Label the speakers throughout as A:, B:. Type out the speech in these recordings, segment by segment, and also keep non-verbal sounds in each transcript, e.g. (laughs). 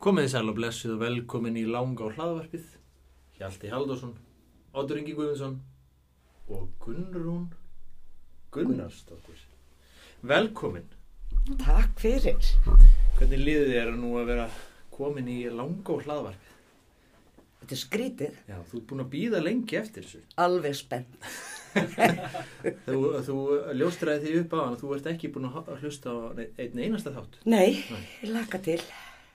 A: Komið þið sæl og blessið og velkomin í langa og hlaðvarpið. Hjalti Haldursson, Otur Ingi Guðvinsson og Gunnrún Gunnarsdóttir. Velkomin.
B: Takk fyrir.
A: Hvernig liðið er nú að vera komin í langa og hlaðvarpið?
B: Þetta er skrítið,
A: Já, þú ert búin að býða lengi eftir þessu.
B: alveg spennt.
A: Þú, þú ljóstræði því upp á hann að þú ert ekki búin að hlusta á neinn- einn einasta þátt.
B: Nei, ég laka til.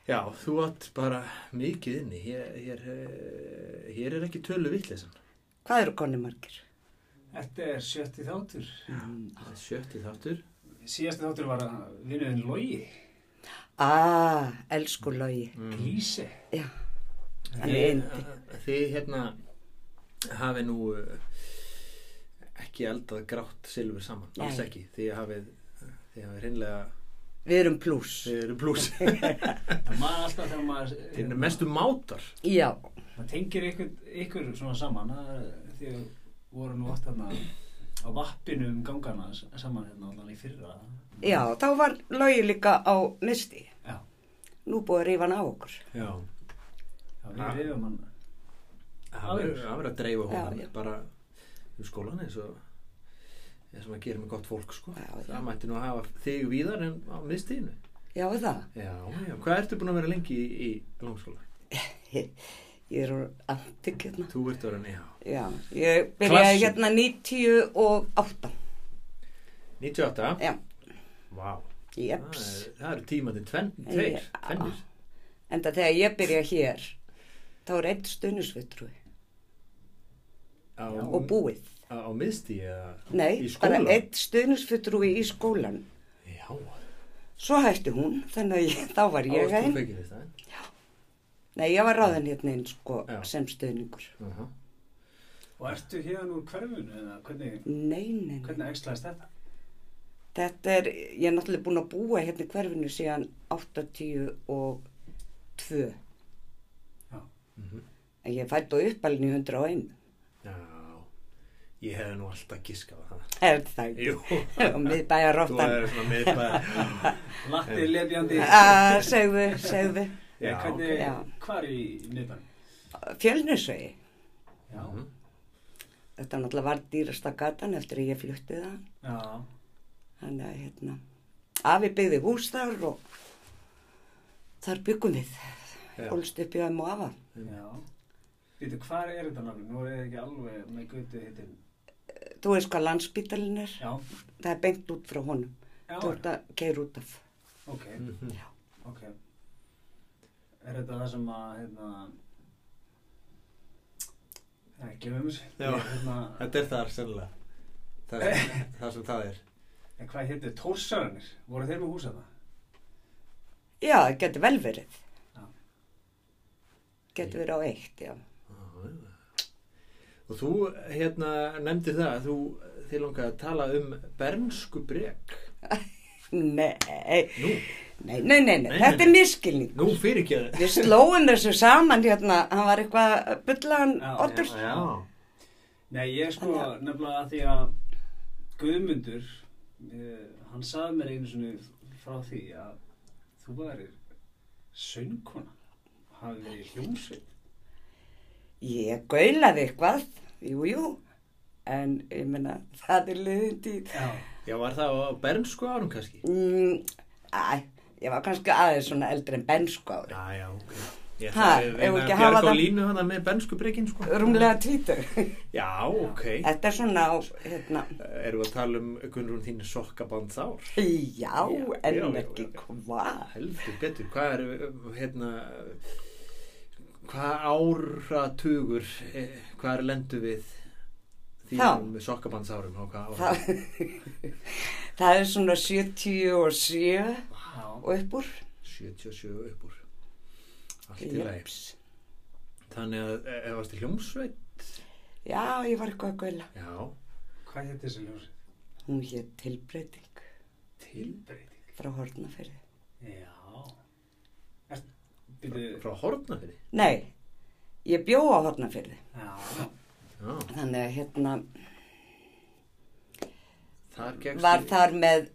A: Já, þú átt bara mikið inni. Hér, hér, eh, hér er ekki tölu vitleysan.
B: Hvað eru konni margir?
C: Þetta er sjötti þáttur.
A: Sjötti þáttur.
C: Síðasti þáttur var að vinnuðin Logi,
B: Ah, elsku logi.
A: Mhm.
C: Glíse.
B: Já, hann er
A: Þið,
B: eindi.
A: þið hérna hafi nú uh, ekki eldað grátt silfur saman,
B: Nei.
A: alls ekki þið hafið, þið hafið hreinlega
B: Við erum pluss.
A: þið eru blús,
C: Það maður alltaf þegar maður...
A: þið eru mestu mátar
B: Já,
C: Það tengir ykkur, ykkur svona saman. Það er því að voru nú oft hérna á vappinu um gangana s- saman hérna allan í fyrra.
B: já, þá var logi líka á misti.
C: Já,
B: Nú búið að rífa hann á okkur.
A: Já,
C: já
A: Ah.
C: við reyðum hann.
A: það verður það verður að dreifa
B: Já,
A: honum
B: já.
A: bara í skólan eins og eins og maður gerir með gott fólk sko
B: Já, já.
A: það mætti nú að hafa þig víðar en á miðstíðinu
B: Já, er það.
A: Já, já, hvað ertu búin að vera lengi í, í langskóla?
B: Ég er úr antik hérna.
A: Þú ert að vera, já,
B: Já, ég byrjaði
A: Klassík.
B: hérna 98.
A: 98
B: Já,
A: Vá, það
B: jeps.
A: er- það eru tímandi tvenn,
B: Já.
A: tveir, tvennir
B: En það þegar ég byrja hér, þá er einn stunisvitrúi
A: á,
B: og búið.
A: á, á miðstíð eða
B: Nei,
A: í
B: bara
A: skóla
B: einn stuðnisfulltrúi í skólan.
A: já,
B: Svo hætti hún, þannig að ég, (laughs) þá var ég
A: ástu
B: einn.
A: fekir þetta eh?
B: Nei, ég var ráðan hérna einn sko
A: Já.
B: sem stuðningur.
A: Aha.
C: Og ertu hérna úr hverfinu eða hvernig,
B: Nei, nei, nei.
C: hvernig ekstlaðist þetta?
B: Þetta er, ég er náttúrulega búin að búa hérna í hverfinu síðan 82.
C: Já.
A: Mhm.
B: En ég fætt á uppalinn í 101.
A: já ég hefði nú alltaf giskað
B: (laughs)
A: á það
B: Er það ekki?
A: jú,
B: Og miðbæja
A: þú
B: róttan.
A: er
B: (laughs)
A: svona miðbæð
C: Latti lefjandi.
B: Ah, segðu, segðu.
A: já,
C: Já,
B: ok.
C: hvernig,
B: Já.
C: hvar í miðbænum?
B: Fjölnisvegi.
C: Já,
A: Mhm.
B: Þetta náttúrulega var dýrasta gatan eftir að ég flutti það.
C: já,
B: Þannig að hérna, afi byggði hús þar og þar byggum við.
A: Já.
B: Hólst upp í ömmu og afa.
C: já. Býtu, hvar er þetta náttúrulega? Nú er ég ekki alveg með gutu hittin.
B: Þú veist hvað landspítalinn er?
C: Já,
B: Það er beint út frá honum.
C: já,
B: Þú ert að keira út af.
C: ok,
A: Mhm.
C: ok. Er þetta það sem að, hérna, það er glemum þessu.
A: Já.
C: Ég, Hérna,
A: þetta er þar sennilega það,
B: (laughs)
A: er- það sem það er
C: en hvað hittir Tórsarannir? Voru þeir með hús að það?
B: Já, það getur vel verið.
C: Já.
B: Getur verið á eitt, já.
A: Já, já. og þú hérna nefndir það að þú þið langaði að tala um bernsku breg
B: Nei,
A: nú,
B: nei, nei, nei,
A: Nei,
B: nei. þetta
A: nei.
B: er miskilning.
A: nú fyrir ekki að
B: Við slóum þessu saman hérna, hann var eitthvað bullaðan
C: Já,
B: otur.
A: já,
C: Nei, ég sko
B: Þannig
C: nefnilega að því að Guðmundur, eh, hann saði mér einu svona frá því að þú værir söngkona, hafi verið í hljómsveit.
B: Ég gaulaði eitthvað, jú, jú, en ég menna, það er liðin tíð.
C: Já,
A: já, var það á bernsku árum kannski
B: Mm, Æ, ég var kannski aðeins svona eldri en sko, bensku ári.
A: Ah, Já, já, ok. Ég
B: Ha,
A: ætlaði að reyna
B: eigum við
A: að
B: ekki að hafa
A: bjarga á
B: það?
A: línu hana með benskubrikinn, sko.
B: Rúmlega
A: (laughs)
B: tvítur.
A: Já, ok.
B: Þetta er svona á, hérna,
A: Erum við að tala um Gunnrún þín sokkaband þár?
B: já,
A: já,
B: en
A: já,
B: ekki
A: já.
B: hvað.
A: Heldur betur, hvað er, hérna, hvað áratugur, eh, hvað er lendu við þínum sokkabandsárum og hvað
B: Það, (laughs)
A: árum?
B: það er svona 77
C: já.
B: og upp úr.
A: 77 upp úr. Allt í lagi.
B: Jeps.
A: Þannig að, eh, ef varst í hljómsveit,
B: Já, ég var eitthvað að gaula.
A: já,
C: Hvað hétt þessi hljómsveit?
B: Hún hétt tilbreyting
C: Tilbreyting.
B: frá Hortnaferði.
C: Já. Er, byrju,
A: frá Hortnafyrði.
B: Nei, ég bjó á Hortnaferði.
C: já,
A: Já,
B: Þannig að hérna
A: þar gegst
B: var þar með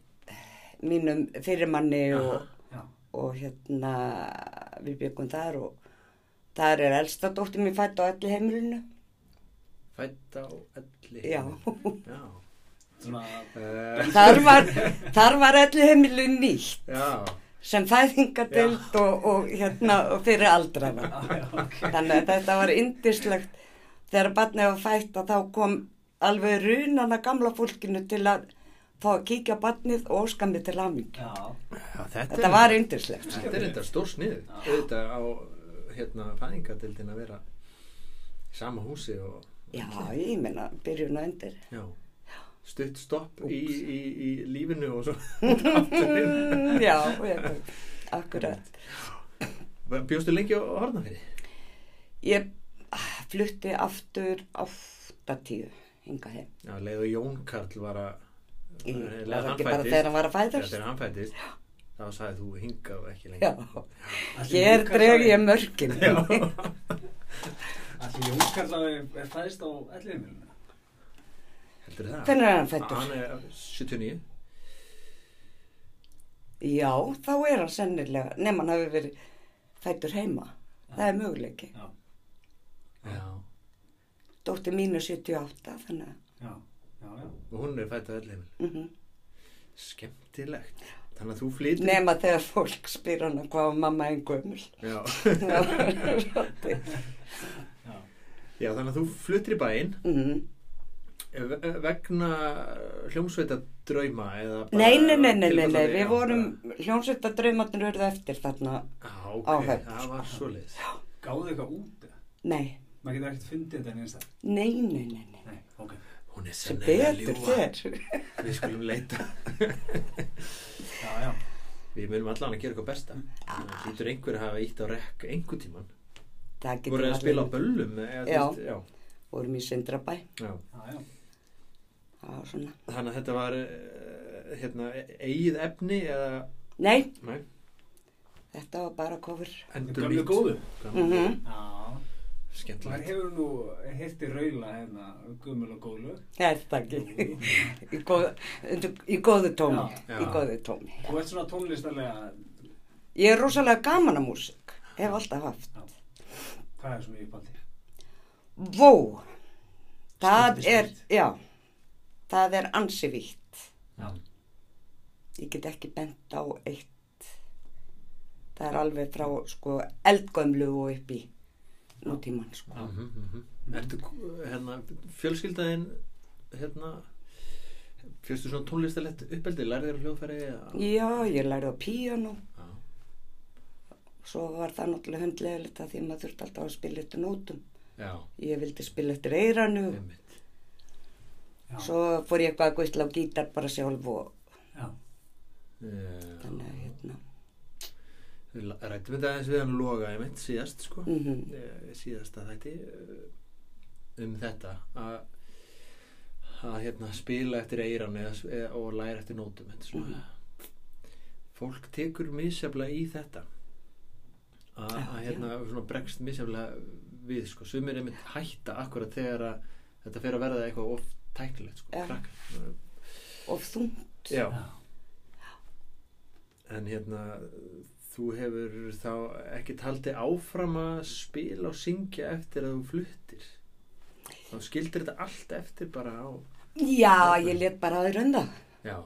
B: mínum fyrirmanni og
C: já,
B: og hérna við byggum þar og þar er elsta dóttir mér fætt á öllu heimilinu.
A: Fætt á elli (laughs)
B: Já.
A: Já,
C: Svona,
A: Eh,
B: Þar var, þar var öllu heimilinu nýtt
A: já.
B: sem fæðingadeild og, og hérna og fyrir aldrana.
C: á, já, ok.
B: Þannig að þetta var indislegt þegar barnið var fætt að þá kom alveg runan að gamla fólkinu til að fá að kíkja á barnið og óska mig til hamingju.
C: Já,
A: Já, þetta,
B: Þetta var indislegt.
A: Þetta er þetta stór snið auðvitað á hérna fæðingadeildin að vera í sama húsi og
B: Já, ég meina, byrjun og endir.
A: já, stutt stopp í, í, í lífinu og svo (laughs)
B: Mm, já, þetta, akkurat.
A: Bjóstu lengi á Hornafyrði?
B: Ég ah, flutti aftur 80 hinga heim.
A: Já, leið og Jón Karl var að
B: Í,
A: leið
B: var
A: hann
B: ekki bara
A: fæddist-
B: þegar hann var að
A: Já,
B: fæðast.
A: þegar hann fættist þá sagði þú hingað og ekki lengi
B: Já,
C: Ætli
B: hér
C: Jónkarl
B: dreg
C: hafi-
B: ég mörkin.
C: Ætli Jónkarl hafi- er fæðist á ellihimilinu?
A: Heldur það?
B: Hvenær er hann fæddur?
A: Hann er 79
B: Já, þá er hann sennilega, nema hann hafi verið fættur heima. Það er möguleiki.
C: Já,
A: Já,
B: Dóttir mín er 78, þannig að...
C: já, já, já.
A: og hún er fætt á Elleifil
B: Mm
A: Skemmtilegt Þannig að þú flytur
B: Nema þegar fólk spyr hana hvað var mamma einn gömul. (laughs)
A: Já.
B: Það var svolítið.
A: Já, þannig að þú fluttir í bæinn eh,
B: Mhm.
A: ve- vegna hljómsveita drauma eða bara
B: Nei, nei, nei, nei, nei, nei,
A: tilfallandi-
B: við vorum hljómsveita draumarnir urðu eftir þarna.
A: Já, ok,
B: á sko. Höfn.
A: það var svoleiðis
C: Gáðu eitthvað út? eða?
B: Nei,
C: Maður getur ekkert fundið þetta neins það.
B: nei, nei, nei, nei.
C: Nei, ok.
A: Hún er
B: Sem
A: sennilega
B: betur
A: ljúa
B: þér.
A: Við skulum leita
C: Já, já.
A: Við munum allan að gera eitthvað besta Það Lítur einhver að hafa ítt á rekk einhver tíman
B: Það getur
A: Voru að
B: alveg-
A: spila á böllum eða,
B: Já.
A: þú veist, já.
B: Vorum í Sindrabæ.
A: Já.
C: Já, já.
B: Það var svona.
A: Þannig að þetta var eh, hérna, e- eigið efni eða
B: Nei,
A: nei,
B: þetta var bara kofur.
A: endur
C: Gömlu góðu.
B: Mm
C: Já. Maður
A: Skemmtilegt
C: hefur nú hirti raula hérna, gummul og gólu.
B: Er það ekki? (laughs) Í, góð, undir- í góðu tómi.
A: Já.
B: Í góðu tómi.
C: Þú ert svona tónlistarlega,
B: Ég er rosalega gaman að músík. Hef alltaf haft.
C: hvað er svona í uppaldi?
B: Vó, það
C: Skemmtist
B: er,
C: vítt.
B: já, það er ansi vítt.
C: Já.
B: Ég get ekki bent á eitt. Það er alveg frá, sko, eldgömlu og upp í nútímann, sko.
A: Mhm, mhm. Ertu hérna, fjölskyldaðin hérna fyrstu svona tónlistalett uppeldi lærið þér á hljóðfæri eða-
B: Já, ég lærði á píanó,
A: Já.
B: svo var það náttúrulega hundlegilegt að því maður þurfti alltaf að spila eftir nótum.
A: Já,
B: Ég vildi spila eftir eiranu,
A: einmitt
C: Já.
B: svo fór ég eitthvað að guðla á gítar bara sjálf og
A: Já.
C: Já.
B: þannig að, hérna,
A: Eh, Við la- ræddum þetta aðeins við hann loga einmitt síðast sko
B: mhm,
A: Eh, síðasta þætti eh, um þetta að að hérna spila eftir eiran eða, s- eða, og læra eftir nótum þetta er svona
B: Mhm.
A: fólk tekur misjaflega í þetta að
B: Já,
A: að, hérna svona bregst misjaflega við sko, sumir einmitt hætta akkurat þegar að þetta fer að verða eitthvað of tæknilegt sko,
B: Já.
A: krakkar
B: og þungt.
A: já
C: Já.
A: en hérna þú hefur þá ekki taldi áfram að spila og syngja eftir að þú fluttir þá skildir þetta allt eftir bara á
B: Já, ég let bara aður undan.
A: já,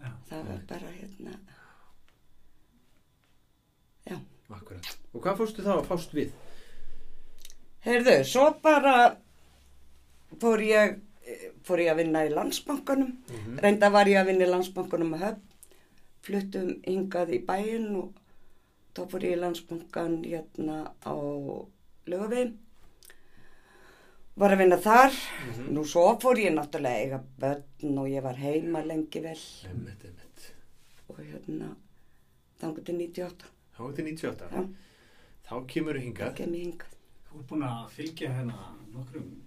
C: Já.
B: það var bara hérna
A: akkurat og hvað fórstu þá að fást við?
B: heyrðu, svo bara fór ég eh, fór ég að vinna í landsbankanum
A: Mhm,
B: reynda var ég að vinna í landsbankanum að höfn fluttum hingað í bæinn og þá fór ég í landsbankan hérna á lögavegin var að vinna þar
A: Mhm.
B: nú svo fór ég náttúrulega að eiga börn og ég var heima lengi vel
A: einmitt, einmitt
B: og hérna þangur til 98
A: þá er þetta 98
B: Já.
A: þá kemur þú hingað
B: kem ég hingað
C: Þú ert búin að fylgja hérna nokkrum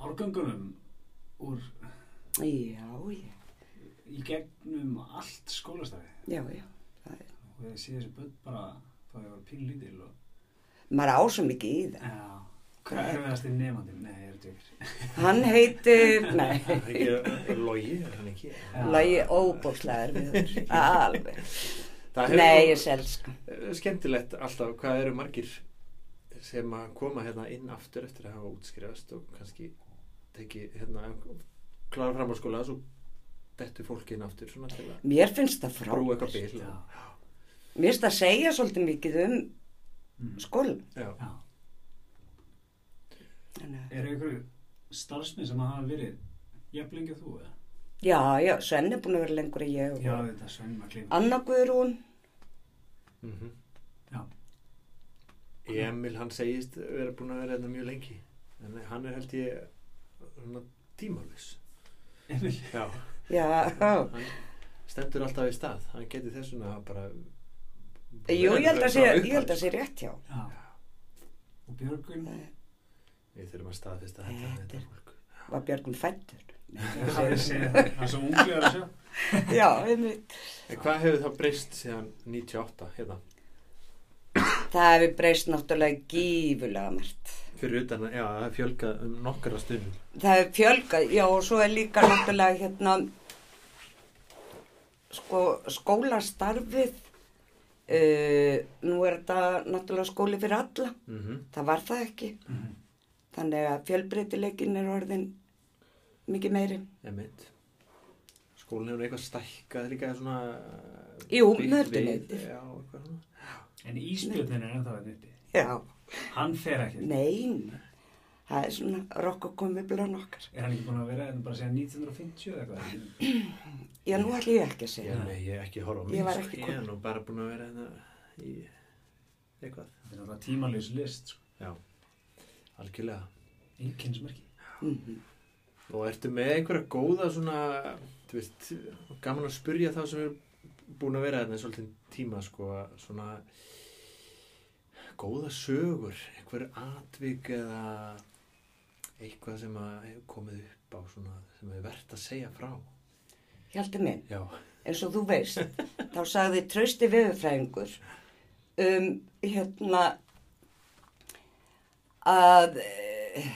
C: árgangunum úr
B: já, já,
C: í gegnum allt skólastæði.
B: já, já það er
C: Og ég sé þessi börn bara þá ég var pínlítil og...
B: maður á svo mikið í það.
C: Já. Hvað er erfiðast í nefandum? Nei, ég er tjókir.
B: Hann heitir, nei,
A: Það er ekki logi, er hann ekki
B: (laughs) lagi óbóðslega erfiður, alveg.
A: Það hefur
B: Nei,
A: nú-
B: ég selska.
A: Eh, skemmtilegt alltaf hvað eru margir sem að koma hérna inn aftur eftir að hafa útskrifast og kannski teki hérna klára framhalskóla svo dettu fólki inn aftur svona til að
B: Mér finnst það
A: brúa
B: frábært.
A: eitthvað bil
C: Já.
B: Mér finnst það segja svolítið mikið um skólan.
A: Já.
C: Mm. Já.
B: Þannig að-
C: Er einhverju starfsmið sem að hafa verið jafn lengi að þú eða?
B: Já, já, Svenni er búin að vera lengur en ég.
C: Já, þetta svennum að klima.
B: Anna Guðrún,
A: Mm
C: Já.
A: Emil hann segist vera búin að vera hérna mjög lengi en hann er held ég svona tímalus
C: Emil,
A: Já,
B: já,
A: hann stendur alltaf í stað hann geti þessuna bara
B: jú, ég held að sé,
A: Frá
B: ég held að
A: upphafi.
B: sé rétt hjá.
C: já. Og Björgun,
A: Við þurfum að staðfesta þetta
B: Þetta
A: þetta
B: er-
A: fólk
B: Var Björgum fættur.
C: (laughs) það er segja það, það er svo unglega að sjá.
B: (laughs) já, einmitt.
A: En hvað hefur þá breyst síðan 98 hérna?
B: Það hefur breyst náttúrulega gífulega margt.
A: Fyrir utan að, já, það er fjölgað um nokkara stundum.
B: það er fjölgað, já og svo er líka náttúrulega hérna sko, skólastarfið uh, nú er þetta náttúrulega skóli fyrir alla
A: Mm
B: það var það ekki þannig að fjölbreytileikin er orðin mikið meiri
A: Emitt. Skólinn hefur eitthvað stækkað líka svona...
B: Jú,
A: byggt
B: mörguleyti.
A: við- Já, eitthvað svona.
C: En Ísbjörnin er ennþá að nýtti.
B: já,
C: Hann fer ekki.
B: nein það er svona rokk og komið blán okkar
C: Er hann ekki búin að vera enn bara segja 1950 eða eitthvað?
B: já, nú ætlum ég ekki að
A: Já,
B: segja
A: nei, ég er ekki að horfa á
B: Ég
A: mig.
B: var
A: sko.
B: ekki
A: Ég er nú bara búin að vera hérna í eitthvað.
C: Þetta er náttúrulega tímalus list, sko.
A: Já, algjörlega.
C: Einkennsmerki.
B: Mhm.
A: Og ertu með einhverja góða svona, þú veist, gaman að spurja þá sem eru búin að vera þarna í svolítið tíma, sko, svona góða sögur, einhver atvik eða eitthvað sem að hefur komið upp á svona, sem er verðt að segja frá.
B: Hjalti minn
A: Já.
B: eins og þú (laughs) veist, þá sagði trösti viðurfræðingur um hérna að uh,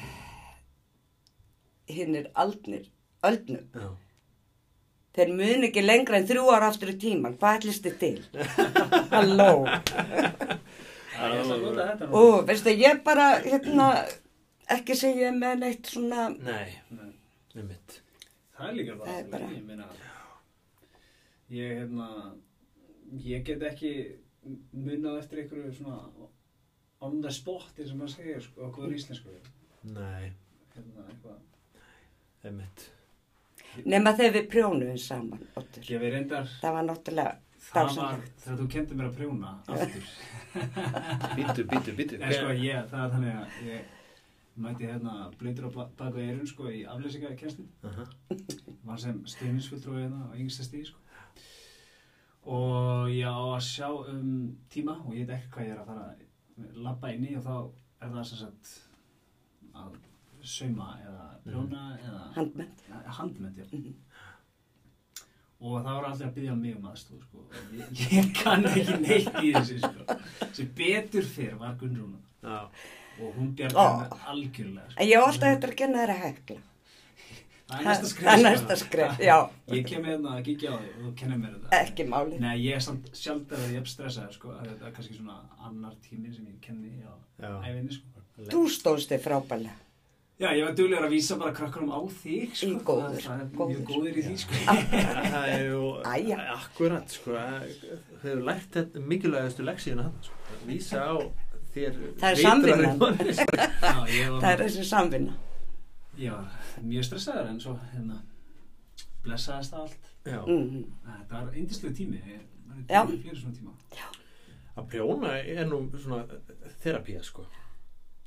B: hinn er aldnir, öldnum,
A: Já.
B: þeir mun ekki lengra en þrjú ára aftur í tíman, hvað ætlist þið til? (laughs) Halló.
C: Það er að nota þetta nú.
B: Og veistu, ég bara hérna ekki segja með neitt svona,
A: Nei,
C: Nei.
A: með mitt.
C: Það er líka bara,
B: Það er bara-
C: ég meina ég hérna ég get ekki munnað eftir einhverju svona on the spot eins og maður segir sko, okkur íslensku
A: Nei,
C: hérna eitthvað
A: með mitt.
B: nema þegar við prjónuðum saman, Óttur.
C: ég við reyndar
B: Það var náttúrulega
C: það var
B: dásamlegt.
C: þegar þú kendir mér að prjóna aftur (laughs)
A: Býtu, býtu, býtu.
C: en sko ég það er þannig að ég mæti hérna blöytur á baka eirun sko í afleysingarkennslu
A: Aha.
C: var sem stuðningsfulltrúi hérna á yngsta stíði sko. og ég á að sjá um tíma og ég veit ekki hvað ég er að fara að labba inn í og þá er það sem sagt að sauma eða brjóna eða
B: Handmenn.
C: handmynd já.
B: Mhm.
C: og það voru allir að byggja mig um aðstóð sko. Og ég, ég kann ekki neitt í þessu sko. sem betur fyrr var Gunnrún
A: Já.
C: og hún
B: Ó.
C: bjargaði mér algjörlega sko.
B: En ég á alltaf eftir að kenna þér að hekla.
C: það er næsta skref
B: Það er
C: sko.
B: næsta skref, já.
C: ég kem hérna að kíkja á þig og þú kennir mér þetta
B: Ekki máli.
C: Nei, ég er samt sjaldar að ég er stressaður, sko, að þetta er kannski svona annar tími sem ég kenni á
A: Já.
C: æfinni, sko.
B: Þú stóðst þig frábælega.
C: Já, ég var duglegur að vísa bara krökkunum á þig, sko.
B: Í góður,
C: það, það er
B: góður.
C: mjög góður í því, sko.
A: Það er jú
B: Æja.
A: akkurat sko, þau hefur lært þetta mikilvægastu leksíðuna hann sko, að vísa á þér
B: Það er
A: vitrari
B: samvinnan.
A: manni.
C: Já, ég
B: Það er
C: var,
B: þessi samvinna.
C: ég var mjög stressaður en svo, hérna, blessaðist það allt.
A: (laughs) Já,
B: Mm.
C: Þetta var eindislega tími, ég var í
B: Já.
C: tími fyrir svona tíma.
A: að prjóna er nú svona terapía sko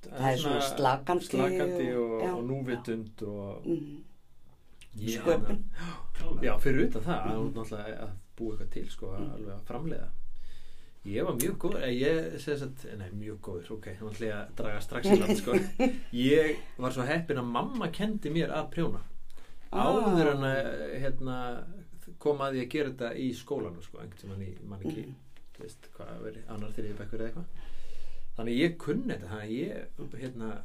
B: Það er svona slakandi
A: slakandi
B: og-
A: og,
B: já.
A: og núvitund og
B: Mm.
A: Ég-
B: Sköpun.
A: Já,
C: Klálega.
A: fyrir utan það að hún náttúrulega að búa eitthvað til sko, að alveg að framleiða Ég var mjög góður, eh, ég segi þess að, nei mjög góður, ok, nú ætla ég að draga strax í land sko Ég var svo heppin að mamma kendi mér að prjóna Áður
B: Ah.
A: en að hérna, kom að ég að gera þetta í skólanum sko, einhvern tímann í mann ekki,
B: Mm.
A: þú veist hvað verið, annar þriðið bekkur eða eitthvað Þannig að ég kunni þetta, þannig að ég hérna,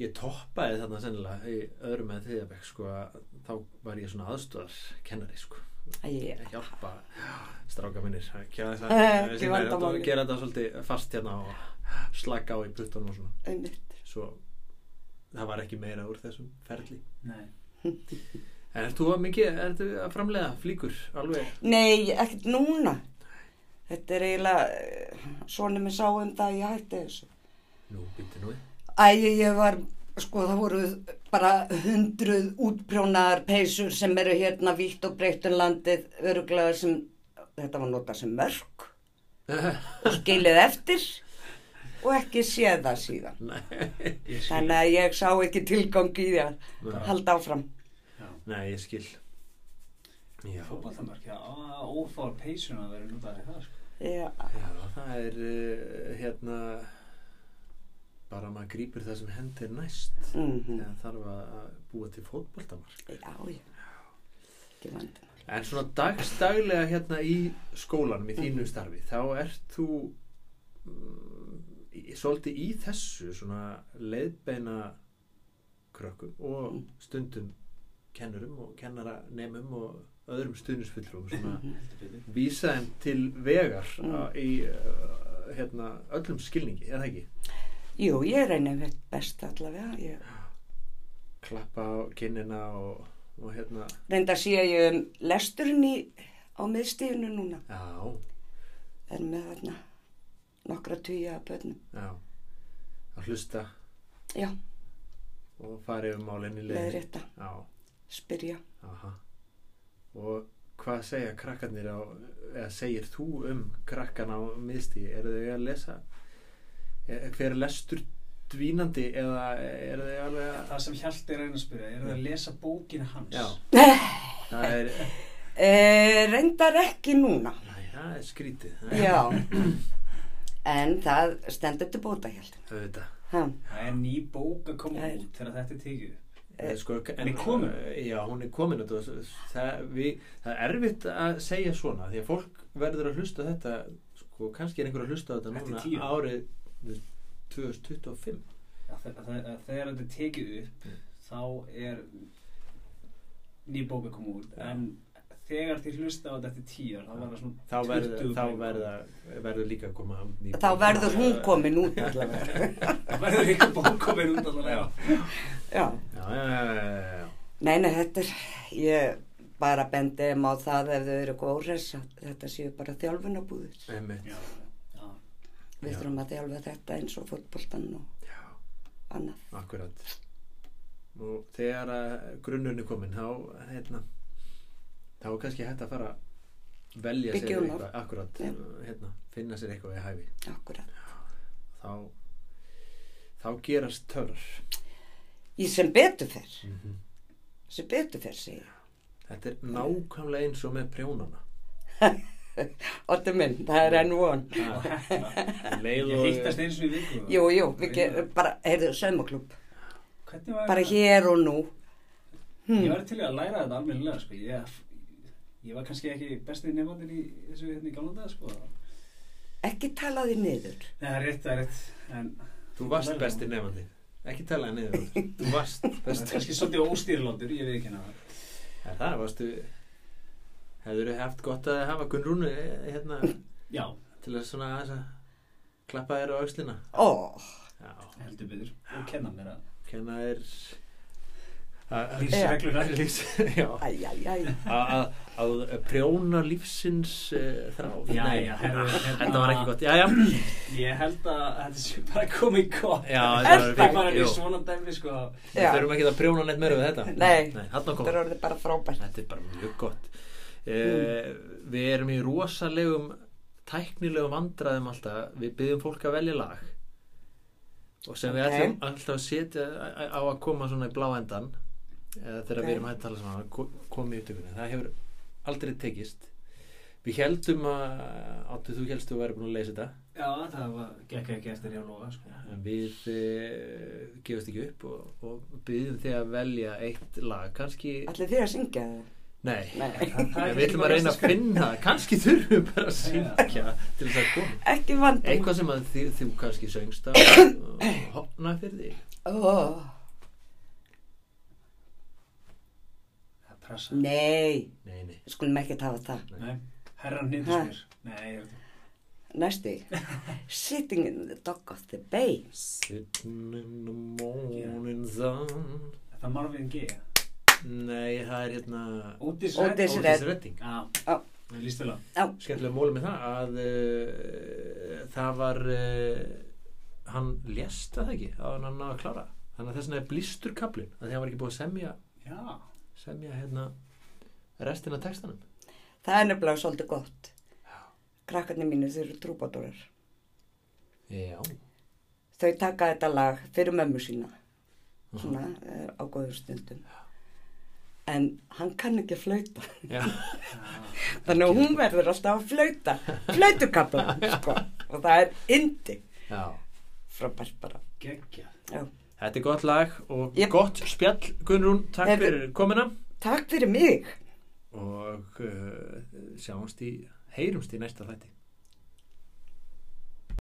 A: ég toppaði þarna sennilega í öðrum eða þriðja bekk sko að þá var ég svona aðstóðar kennari sko
B: Æ,
A: að hjálpa stráka minnir það er ekki aðeins að
B: Eh,
A: það
B: (laughs) ekki vandamálið.
A: gera þetta svolítið fast hérna og slaka á í puttunum og svona
B: einmitt.
A: svo það var ekki meira úr þessum ferli
C: Nei.
A: en ert þú að mikið, ert þú að framlega flíkur alveg
B: Nei, ekkert núna. Þetta er eiginlega, svona mér sá um það að ég hætti þessu.
A: nú bytti nú við.
B: Æ, ég var, sko, það voru bara hundruð útprjónaðar peysur sem eru hérna vítt og breytt um landið, öruglega sem, þetta var notað sem mörk, og skilið eftir og ekki séð það síðan.
A: nei,
C: Ég skil.
B: Þannig að ég sá ekki tilgang í því að
A: Nei.
B: halda áfram.
A: (laughs) nei, ég skil já,
C: Fótballtamark, já, ófár peysuna að vera notaði það, sko.
B: Já,
A: já það er uh, hérna bara maður grípur það sem hendir næst
B: mm
A: þegar þarf að búa til fótboltamar
B: já, já. Ekki vandum.
A: En svona dagstaglega hérna í skólanum, í þínu starfi, þá ert þú mm, í- svolítið í þessu svona leiðbeina krökkum og stundum kennurum og kennaranemum og öðrum stuðnisfullrum svona
C: Heldur betur.
A: vísa þeim til vegar Mhm. mm. í uh, hérna, öllum skilningi, er það ekki?
B: Jú, ég reyni mitt best allavega. Ég
A: Klappa á kinnina og, og hérna,
B: reynda að sé að ég um lesturinn í, á miðstífinu núna.
A: já,
B: Er með þarna nokkra tugi að börnum.
A: já, að hlusta
B: Já,
A: og fara yfir málinni leiðin.
B: leiðrétta,
A: Já.
B: spyrja.
A: Aha. Og hvað segja krakkarnir á, eða segir þú um krakkan á miðstí? Eru þau að lesa? Er, hver er lestur dvínandi eða e, eru þau alveg að...
C: Það sem Hjalti reyna að spyrja, er það að lesa bókina hans?
A: Já. Það er, (laughs)
B: E, reyndar ekki núna.
A: Æ, það er skrítið. Það er-
B: Já, en það stendur til bóta hjálp.
A: Auðvitað.
C: Það er ný bók að koma
B: Það er-
C: út þegar þetta er tekið. upp.
A: Eh, Sko, en, eh,
C: er komin.
A: Já, hún er komin og það, það, við, það er erfitt að segja svona því að fólk verður að hlusta á þetta sko, kannski er einhver að hlusta á þetta
C: Eftir
A: núna
C: tíu.
A: árið 2025
C: Já, þe- þe- Þegar þetta er tekið upp, þá er ný bók að koma út. En þegar þið hlusta á þetta eftir tíu, ár, þá verða svona
A: þá, verð,
C: 20
A: þá
C: bækur.
A: verða, verður líka að koma út ný
B: Þá
A: bók.
B: verður hún komin út allavega.
C: (laughs) Þá verður líka bók komin út alveg. Já.
B: Já.
A: já, já, já, já, já.
B: Nei, nei, þetta er, ég bara bendi þeim á það ef þau eru eitthvað óreis að þetta séu bara þjálfunabúðir.
A: Einmitt.
C: Já. Já.
B: Við
A: Já.
B: þurfum að þjálfa þetta eins og fótboltan og
A: já,
B: annað.
A: akkurat og þegar að grunnurinn er komin þá hérna, þá er kannski hægt að fara að velja
B: Byggja
A: sér
B: hún
A: eitthvað akkurat,
B: Já.
A: hérna, finna sér eitthvað í hæfi
B: Akkurat.
A: þá, þá gerast törr
B: Í sem betur fer,
A: -hmm.
B: sem betur fer segi ég.
A: þetta er nákvæmlega eins og með prjónana
B: Óttu minn, það er enn von.
C: Og
A: Það-
C: hérna.
A: leið
C: Ég
A: og
C: hýttast eins og í viku.
B: Jú, jú, við gerum bara, heyrðu, saumaklub.
C: Hvernig var
B: Bara
C: þetta?
B: hér hmm. og nú.
C: Ég var til í að læra þetta almennilega sko. ég, ég var kannski ekki besti nefnandinn í þessu hérna í gamla dag sko. Nei,
B: Ekki tala því niður.
C: það er rétt, það er rétt en,
A: þú varst besti nefandi ekki talaði niður þú. þú varst
C: Það er
A: besti
C: kannski svolítið óstýrlóttur, ég veit ekki hana það
A: Er það, varstu hefur þið haft gott að hafa Gunnrúnu eh, hérna
C: Já,
A: til að svona aðeins að klappa þér á aukslina
B: Ó,
A: Já,
C: heldur betur og kenna mér að
A: kenna þér að-
C: lífsreglur
A: að- lífs já,
B: æj, æj, æj.
A: að að- að prjóna lífsins uh, þráð
C: Já,
A: Nei,
C: já, herru,
A: (laughs)
C: hérna-
A: þetta var ekki gott já, já,
C: Ég held að þetta sé bara komið gott
A: Já,
C: þetta
A: þetta
B: var
C: er
B: fínt,
C: bara
A: jú.
C: í svona dæmi sko
A: við þurfum ekki að prjóna neitt meira við þetta
B: Nei.
A: Nei þarna kom
B: Þetta er orðið bara frábært.
A: Þetta er bara mjög gott
B: Mm.
A: uh, Við erum í rosalegum tæknilegum vandræðum alltaf Við byggjum fólk að velja lag og sem við
B: Ok.
A: ætlum alltaf að setja á að koma svona í blá endan eða þegar
B: Ok.
A: við erum hægt að tala saman að ko- koma í upptökunni, það hefur aldrei tekist Við heldum að áttu þú helstu að vera búin að leysa þetta
C: Já, það var, gekk ekki eftir ég að lofa sko
A: en við uh, gefast ekki upp og, og byggjum þig að velja eitt lag, kannski
B: Allir þið að syngja það?
A: Nei,
B: Nei.
A: En við ætlum að reyna að finna það, kannski þurfum við bara að syngja til þess að koma.
B: Ekki vandum.
A: Eitthvað sem að þið, þú kannski söngst uh, að hopna fyrir því.
B: Ó,
C: Það pressa
B: nei.
A: Nei, nei,
B: Við skulum ekkert hafa það.
C: Nei, Herran nýndismjör. Nei, ég veit ekki.
B: Næsti. Sitting in the dock of the bay.
A: Sitting in the morning sun
C: Er það Marvin G.
A: Nei, það er hérna
C: Otis Redding.
B: Otis Redding.
A: Ótis Redding
C: Já,
B: Já.
C: mér líst vel á.
B: Já,
A: Skemmtilega móli með það að uh, það var uh, hann lést að það ekki á hann náði að klára þannig að þess vegna er blístur kaplinn að því að hann var ekki búið að semja,
C: Já,
A: semja hérna restina af textanum
B: það er nefnilega svolítið gott. Krakkarnir mínu þeir eru trúbátórar.
A: Já,
B: Þau taka þetta lag fyrir mömmu sína. Svona
A: Mhm.
B: eh, á góðum stundum. En hann kann ekki að flauta.
A: já,
B: Þannig að hún verður alltaf að flauta. Flautukabla, sko. Og það er indi.
A: já.
B: Frábært bara.
C: geggja.
B: Já.
A: Þetta er gott lag og
B: Jep.
A: gott spjall Gunnrún, takk
B: Heyrðu.
A: fyrir komina
B: Takk fyrir mig.
A: og uh, sjáumst í, eh, heyrumst í næsta þætti